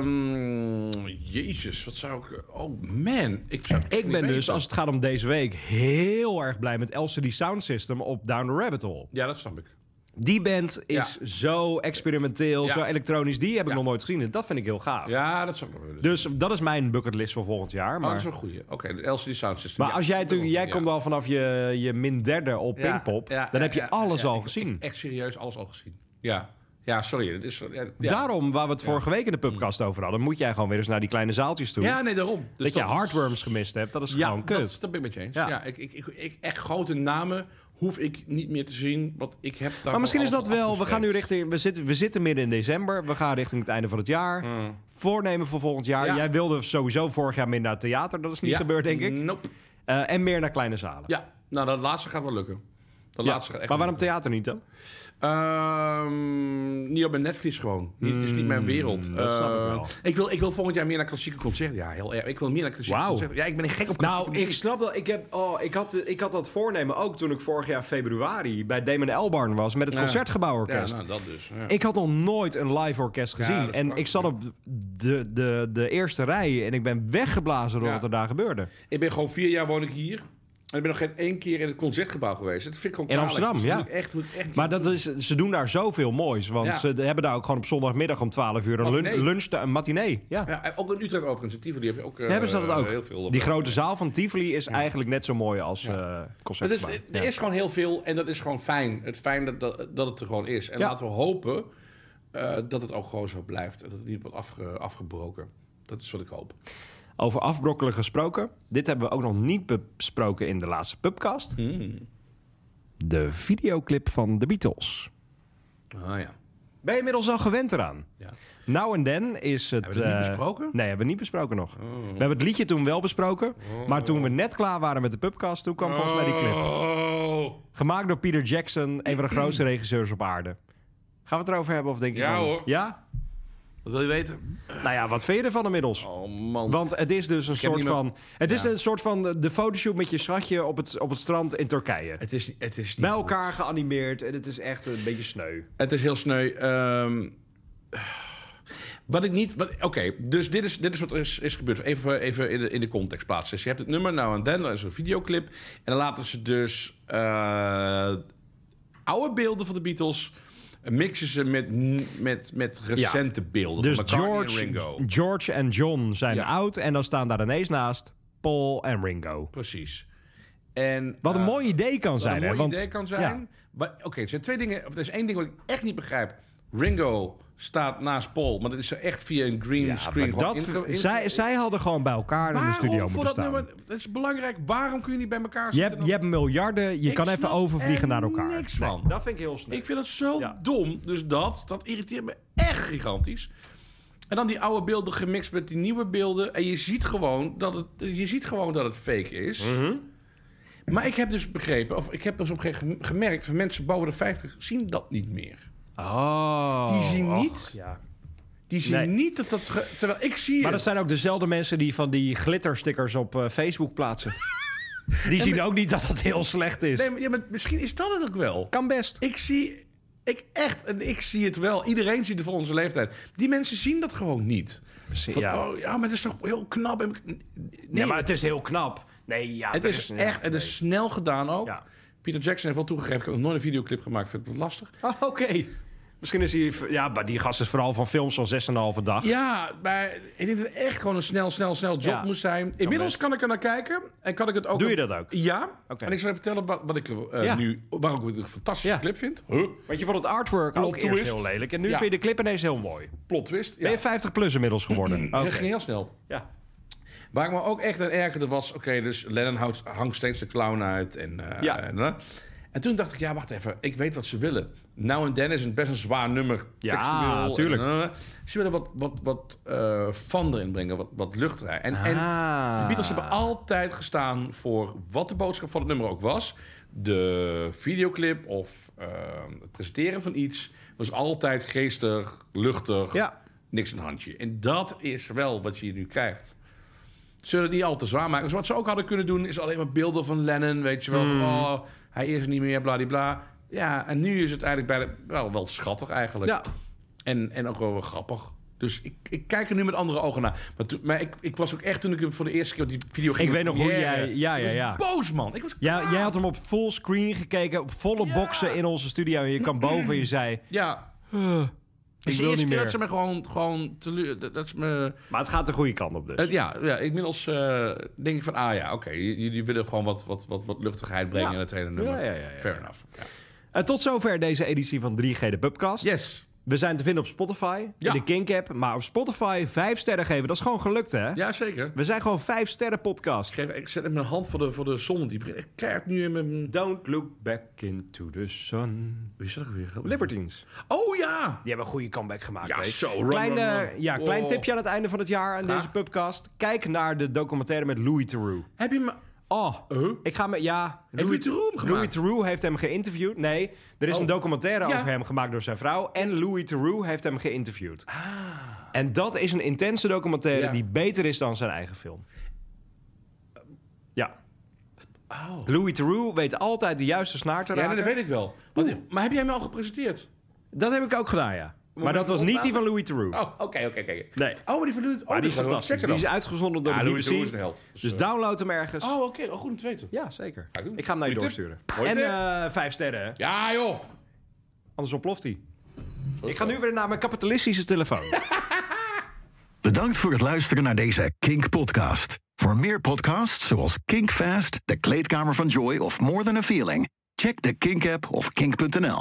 C: Ehm, jezus, wat zou ik... Oh man, ik zou het echt
D: Ik
C: niet
D: ben dus,
C: weten.
D: als het gaat om deze week, heel erg blij met LCD Sound System op Down the Rabbit Hole.
C: Ja, dat snap ik.
D: Die band is zo experimenteel,
C: Ja.
D: zo elektronisch. Die heb ik
C: Ja.
D: nog nooit gezien. En dat vind ik heel gaaf.
C: Ja, dat snap ik wel willen
D: Dus dat is mijn bucketlist voor volgend jaar.
C: Oh,
D: Maar,
C: dat is wel een goeie. Oké, de LCD Sound System.
D: maar als jij, natuurlijk, jij komt al vanaf je, je min derde op
C: Ja,
D: Pinkpop,
C: ja,
D: dan
C: ja,
D: heb je
C: ja,
D: alles
C: ja,
D: al
C: ik-
D: gezien.
C: ik- echt serieus alles al gezien. Ja, ja sorry. Dat is, ja, ja.
D: Daarom, waar we het vorige week in de pubcast over hadden, moet jij gewoon weer eens naar die kleine zaaltjes toe.
C: Ja, nee, daarom. Dus
D: dat je
C: is-
D: hardworms gemist hebt, dat is
C: Ja,
D: gewoon
C: dat,
D: kut.
C: dat ben ik met je eens.
D: Ja.
C: Ja. ik, ik, ik, ik- echt grote namen hoef ik niet meer te zien, want ik heb daar...
D: maar misschien is dat wel, we gaan nu
C: richting.
D: richting, we zitten, we zitten midden in december, we gaan richting het einde van het jaar. Voornemen voor volgend jaar.
C: Mm. Ja.
D: Jij wilde sowieso vorig jaar meer naar het theater, dat is niet gebeurd denk ik.
C: Nope.
D: Eh, en meer naar kleine zalen.
C: Mm. Ja, nou, dat laatste gaat wel lukken. Dat
D: Ja,
C: laatste gaat echt
D: maar
C: wel
D: waarom theater niet dan?
C: Ehm, niet op mijn netvlies gewoon. Niet, het is niet mijn wereld.
D: Hmm, dat snap ik
C: Eh,
D: wel.
C: Ik wil, ik wil volgend jaar meer naar klassieke concerten. Ja, heel erg. Ik wil meer naar klassieke
D: Wauw.
C: concerten. Ja, ik ben gek op
D: Nou,
C: klassieke
D: ik snap dat. Ik, heb, oh, ik, had, ik had dat voornemen ook toen ik vorig jaar februari bij Damon Elbarn was met het
C: Ja.
D: Concertgebouworkest.
C: Ja, nou, dat dus. Ja.
D: Ik had nog nooit een live orkest gezien.
C: dat is
D: en ik
C: prachtig.
D: zat op de, de, de eerste rij en ik ben weggeblazen door
C: Ja.
D: wat er daar gebeurde.
C: Ik ben gewoon vier jaar woon ik hier. En ik ben nog geen één keer in het concertgebouw geweest. Dat vind ik gewoon
D: In
C: kwalijk.
D: Amsterdam,
C: Dus
D: ja.
C: dat Moet ik echt, moet ik echt
D: Maar dat is, ze doen daar zoveel moois. Want
C: Ja.
D: ze hebben daar ook gewoon op zondagmiddag om 12 uur een
C: Matinee.
D: lun, lunch, een matinee. Ja.
C: ja, en ook in Utrecht overigens. In Tivoli heb je ook eh,
D: Hebben ze dat ook?
C: heel veel.
D: Die grote zaal van Tivoli is eigenlijk net zo mooi als eh
C: Het is,
D: Concertgebouw.
C: er
D: Ja.
C: is gewoon heel veel en dat is gewoon fijn. Het fijn dat, dat, dat het er gewoon is. En
D: Ja.
C: laten we hopen eh, dat het ook gewoon zo blijft. En dat het niet wordt afge- afgebroken. Dat is wat ik hoop.
D: Over afbrokkelen gesproken. Dit hebben we ook nog niet besproken in de laatste pubcast.
C: Hmm.
D: De videoclip van de Beatles.
C: Ah ja.
D: Ben je inmiddels al gewend eraan?
C: ja.
D: Nou en dan is het...
C: Hebben we het niet
D: eh,
C: besproken? Oh.
D: Nee, hebben we niet besproken nog. We hebben het liedje toen wel besproken. Maar toen we net klaar waren met de pubcast, toen kwam volgens mij die clip.
C: Oh,
D: Gemaakt door Peter Jackson, een van de grootste regisseurs op aarde. Gaan we het erover hebben of denk je
C: Ja,
D: van-
C: hoor.
D: Ja?
C: dat wil je weten?
D: Nou ja, wat vind je ervan inmiddels?
C: Oh man.
D: Want het is dus een soort
C: niet meer-
D: van... Het is
C: Ja.
D: een soort van de fotoshoot met je schatje op het, op het strand in Turkije.
C: Het is, het is niet
D: Bij
C: goed.
D: elkaar geanimeerd en het is echt een beetje sneu.
C: Het is heel sneu. Ehm, wat ik niet. wat- Oké, dus dit is, dit is wat er is, is gebeurd. Even, even in, de, in de context plaatsen. Dus je hebt het nummer, nou en dan, dan is er een videoclip. En dan laten ze dus eh, oude beelden van de Beatles. Mixen ze met, met, met recente beelden.
D: Dus
C: van McCartney en Ringo.
D: George, George en John zijn
C: Ja.
D: oud en dan staan daar ineens naast Paul en Ringo.
C: Precies. En,
D: Wat een
C: eh,
D: mooi idee kan zijn.
C: Wat
D: hè?
C: een mooi
D: Want-
C: idee kan
D: ja.
C: zijn. Maar Oké, er zijn twee dingen. Of er is één ding wat ik echt niet begrijp. Ringo staat naast Paul, maar dat is er echt via een green
D: Ja,
C: screen.
D: maar
C: gewoon
D: dat,
C: inge- inge-
D: zij, zij hadden gewoon bij elkaar in
C: Waarom
D: de studio moeten
C: voor dat
D: staan.
C: nummer? Dat is belangrijk. Waarom kun je niet bij elkaar
D: Je
C: zitten?
D: hebt,
C: dan?
D: je hebt miljarden, je
C: Ik
D: kan even
C: snap er
D: overvliegen naar elkaar.
C: niks
D: Nee,
C: van.
D: dat vind ik heel snel.
C: Ik vind het zo
D: Ja.
C: dom. Dus dat, dat irriteert me echt gigantisch. En dan die oude beelden gemixt met die nieuwe beelden. En je ziet gewoon dat het, je ziet gewoon dat het fake is.
D: Mhm.
C: Maar ik heb dus begrepen, of ik heb dus op een gegeven moment gemerkt... van mensen boven de 50 zien dat niet meer.
D: Oh.
C: Die zien
D: och,
C: niet.
D: ja.
C: Die zien
D: Nee.
C: niet dat dat... ge- terwijl ik zie
D: Maar dat
C: het.
D: zijn ook dezelfde mensen die van die glitterstickers op eh,
C: <laughs>
D: Facebook plaatsen. Die zien ook niet dat dat heel slecht is.
C: Nee, maar, ja, maar misschien is dat het ook wel.
D: Kan best.
C: Ik zie... Ik echt, en ik zie het wel. Iedereen ziet het van onze leeftijd. Die mensen zien dat gewoon niet. Van,
D: ja.
C: Oh, ja, maar dat is toch heel knap. en- Nee,
D: Nee, maar het is heel knap. Nee, ja,
C: Het
D: dat
C: is
D: ja,
C: echt, het is snel gedaan ook.
D: Ja.
C: Peter Jackson heeft wel toegegeven, ik heb nog nooit een videoclip gemaakt, vind ik wat lastig.
D: nee. Oh, Oké. Misschien is hij... Ja, maar die gast is vooral van films van 6,5 dag.
C: Ja, maar ik denk dat het echt gewoon een snel, snel, snel job
D: Ja.
C: moest zijn. Inmiddels
D: best.
C: kan ik er naar kijken en kan ik het ook...
D: Doe je dat ook?
C: Ja,
D: Oké.
C: en ik zal je vertellen wat, wat ik eh,
D: Ja.
C: nu, waarom ik het een fantastische
D: Ja.
C: clip vind. Huh?
D: Want je vond het artwork
C: Plot
D: ook eerst
C: twist.
D: heel lelijk. En nu
C: Ja.
D: vind je de clip ineens heel mooi.
C: Plot twist. Ja.
D: Ben je 50 plus inmiddels geworden? Oké.
C: Dat ging heel snel.
D: Ja.
C: Waar ik me ook echt aan ergerde was... Oké, dus Lennon houdt, hangt steeds de clown uit. En, eh,
D: Ja.
C: en, eh. en toen dacht ik, ja, wacht even. Ik weet wat ze willen. Nou en Dan is een best een zwaar nummer.
D: Ja,
C: textueel
D: tuurlijk.
C: en, eh, ze willen wat, wat, wat eh fun erin brengen. Wat, wat lucht erin. En, en
D: Ah.
C: de Beatles hebben altijd gestaan voor wat de boodschap van het nummer ook was. De videoclip of eh, het presenteren van iets... was altijd geestig, luchtig,
D: Ja.
C: niks een handje. En dat is wel wat je nu krijgt. Zullen het niet al te zwaar maken. Dus wat ze ook hadden kunnen doen, is alleen maar beelden van Lennon. Weet je wel,
D: Hmm.
C: van oh, hij is er niet meer, bladibla. Ja, en nu is het eigenlijk bij de, wel, wel schattig eigenlijk.
D: Ja.
C: En, en ook wel, wel grappig. Dus ik, ik kijk er nu met andere ogen naar. Maar, toen- maar ik, ik was ook echt toen ik hem voor de eerste keer op die video ging.
D: Ik weet nog hoe
C: première,
D: jij- ja, ja, ja.
C: Ik was boos, man. Ik was
D: Ja,
C: kwaad.
D: jij had hem op full screen gekeken, op volle
C: Ja.
D: boxen in onze studio. En je kwam boven en je zei...
C: Ja.
D: Ik
C: Het is de eerste
D: wil niet
C: keer
D: meer.
C: dat ze me gewoon, gewoon teleur... Dat, dat ze me...
D: Maar het gaat de goede kant op dus.
C: Het- ja, ja, inmiddels eh, denk ik van, ah ja, oké, j- jullie willen gewoon wat, wat, wat, wat luchtigheid brengen
D: Ja.
C: in het hele nummer.
D: Ja, ja, ja, ja.
C: Fair enough. Ja.
D: En Eh, tot zover deze editie van 3G de Pubcast.
C: Yes.
D: We zijn te vinden op Spotify,
C: Ja.
D: in de Kink-app. Maar op Spotify vijf sterren geven, dat is gewoon gelukt hè?
C: Ja, zeker.
D: We zijn gewoon vijf sterren
C: Ik,
D: podcast.
C: geef, ik zet hem mijn hand voor de, voor de zon. Die begint echt keihard nu in mijn...
D: Don't look back into the sun.
C: Wie is dat ook weer?
D: Libertines.
C: Oh ja!
D: Die hebben een goede comeback gemaakt.
C: Ja,
D: weet.
C: zo, run,
D: Klein,
C: run,
D: eh,
C: run.
D: Ja, klein
C: Oh.
D: tipje aan het einde van het jaar aan
C: Graag.
D: deze podcast. Kijk naar de documentaire met Louis Theroux.
C: Heb je me...
D: Oh,
C: Huh?
D: ik ga met... Ja,
C: Heeft Louis Theroux hem gemaakt?
D: Louis Theroux heeft hem geïnterviewd. Nee, er is
C: Oh.
D: een documentaire
C: Ja.
D: over hem gemaakt door zijn vrouw. En Louis Theroux heeft hem geïnterviewd. En dat is een intense
C: Ah.
D: documentaire
C: Ja.
D: die beter is dan zijn eigen film. Ja.
C: Oh.
D: Louis Theroux weet altijd de juiste snaar te
C: Ja,
D: raken.
C: nee, dat weet ik wel. Want, maar heb jij me al gepresenteerd?
D: Dat heb ik ook gedaan, ja. Maar
C: moet
D: dat
C: je
D: was niet die
C: opnamen?
D: van Louis Theroux.
C: Oh, oké, oké, oké.
D: Nee.
C: Oh, maar die van Louis- Oh,
D: Maar die is
C: dat wel-
D: fantastisch.
C: check
D: Die
C: het
D: is
C: dan.
D: uitgezonden door
C: Ja,
D: de
C: Louis Theroux
D: BBC.
C: is een held. Dus,
D: Dus
C: eh,
D: download hem ergens.
C: Oh, oké. Oh, goed om te weten.
D: Ja, zeker.
C: ik doen.
D: Ik ga hem naar je
C: Goeie tip.
D: doorsturen.
C: Mooie
D: en
C: tip.
D: eh, vijf sterren, hè.
C: Ja, joh.
D: anders ontploft hij. Ik ga nu weer naar mijn kapitalistische telefoon.
A: Bedankt voor het luisteren naar deze Kink Podcast. Voor meer podcasts zoals Kink Fast, De Kleedkamer van Joy of More Than a Feeling, check de Kink app of kink.nl.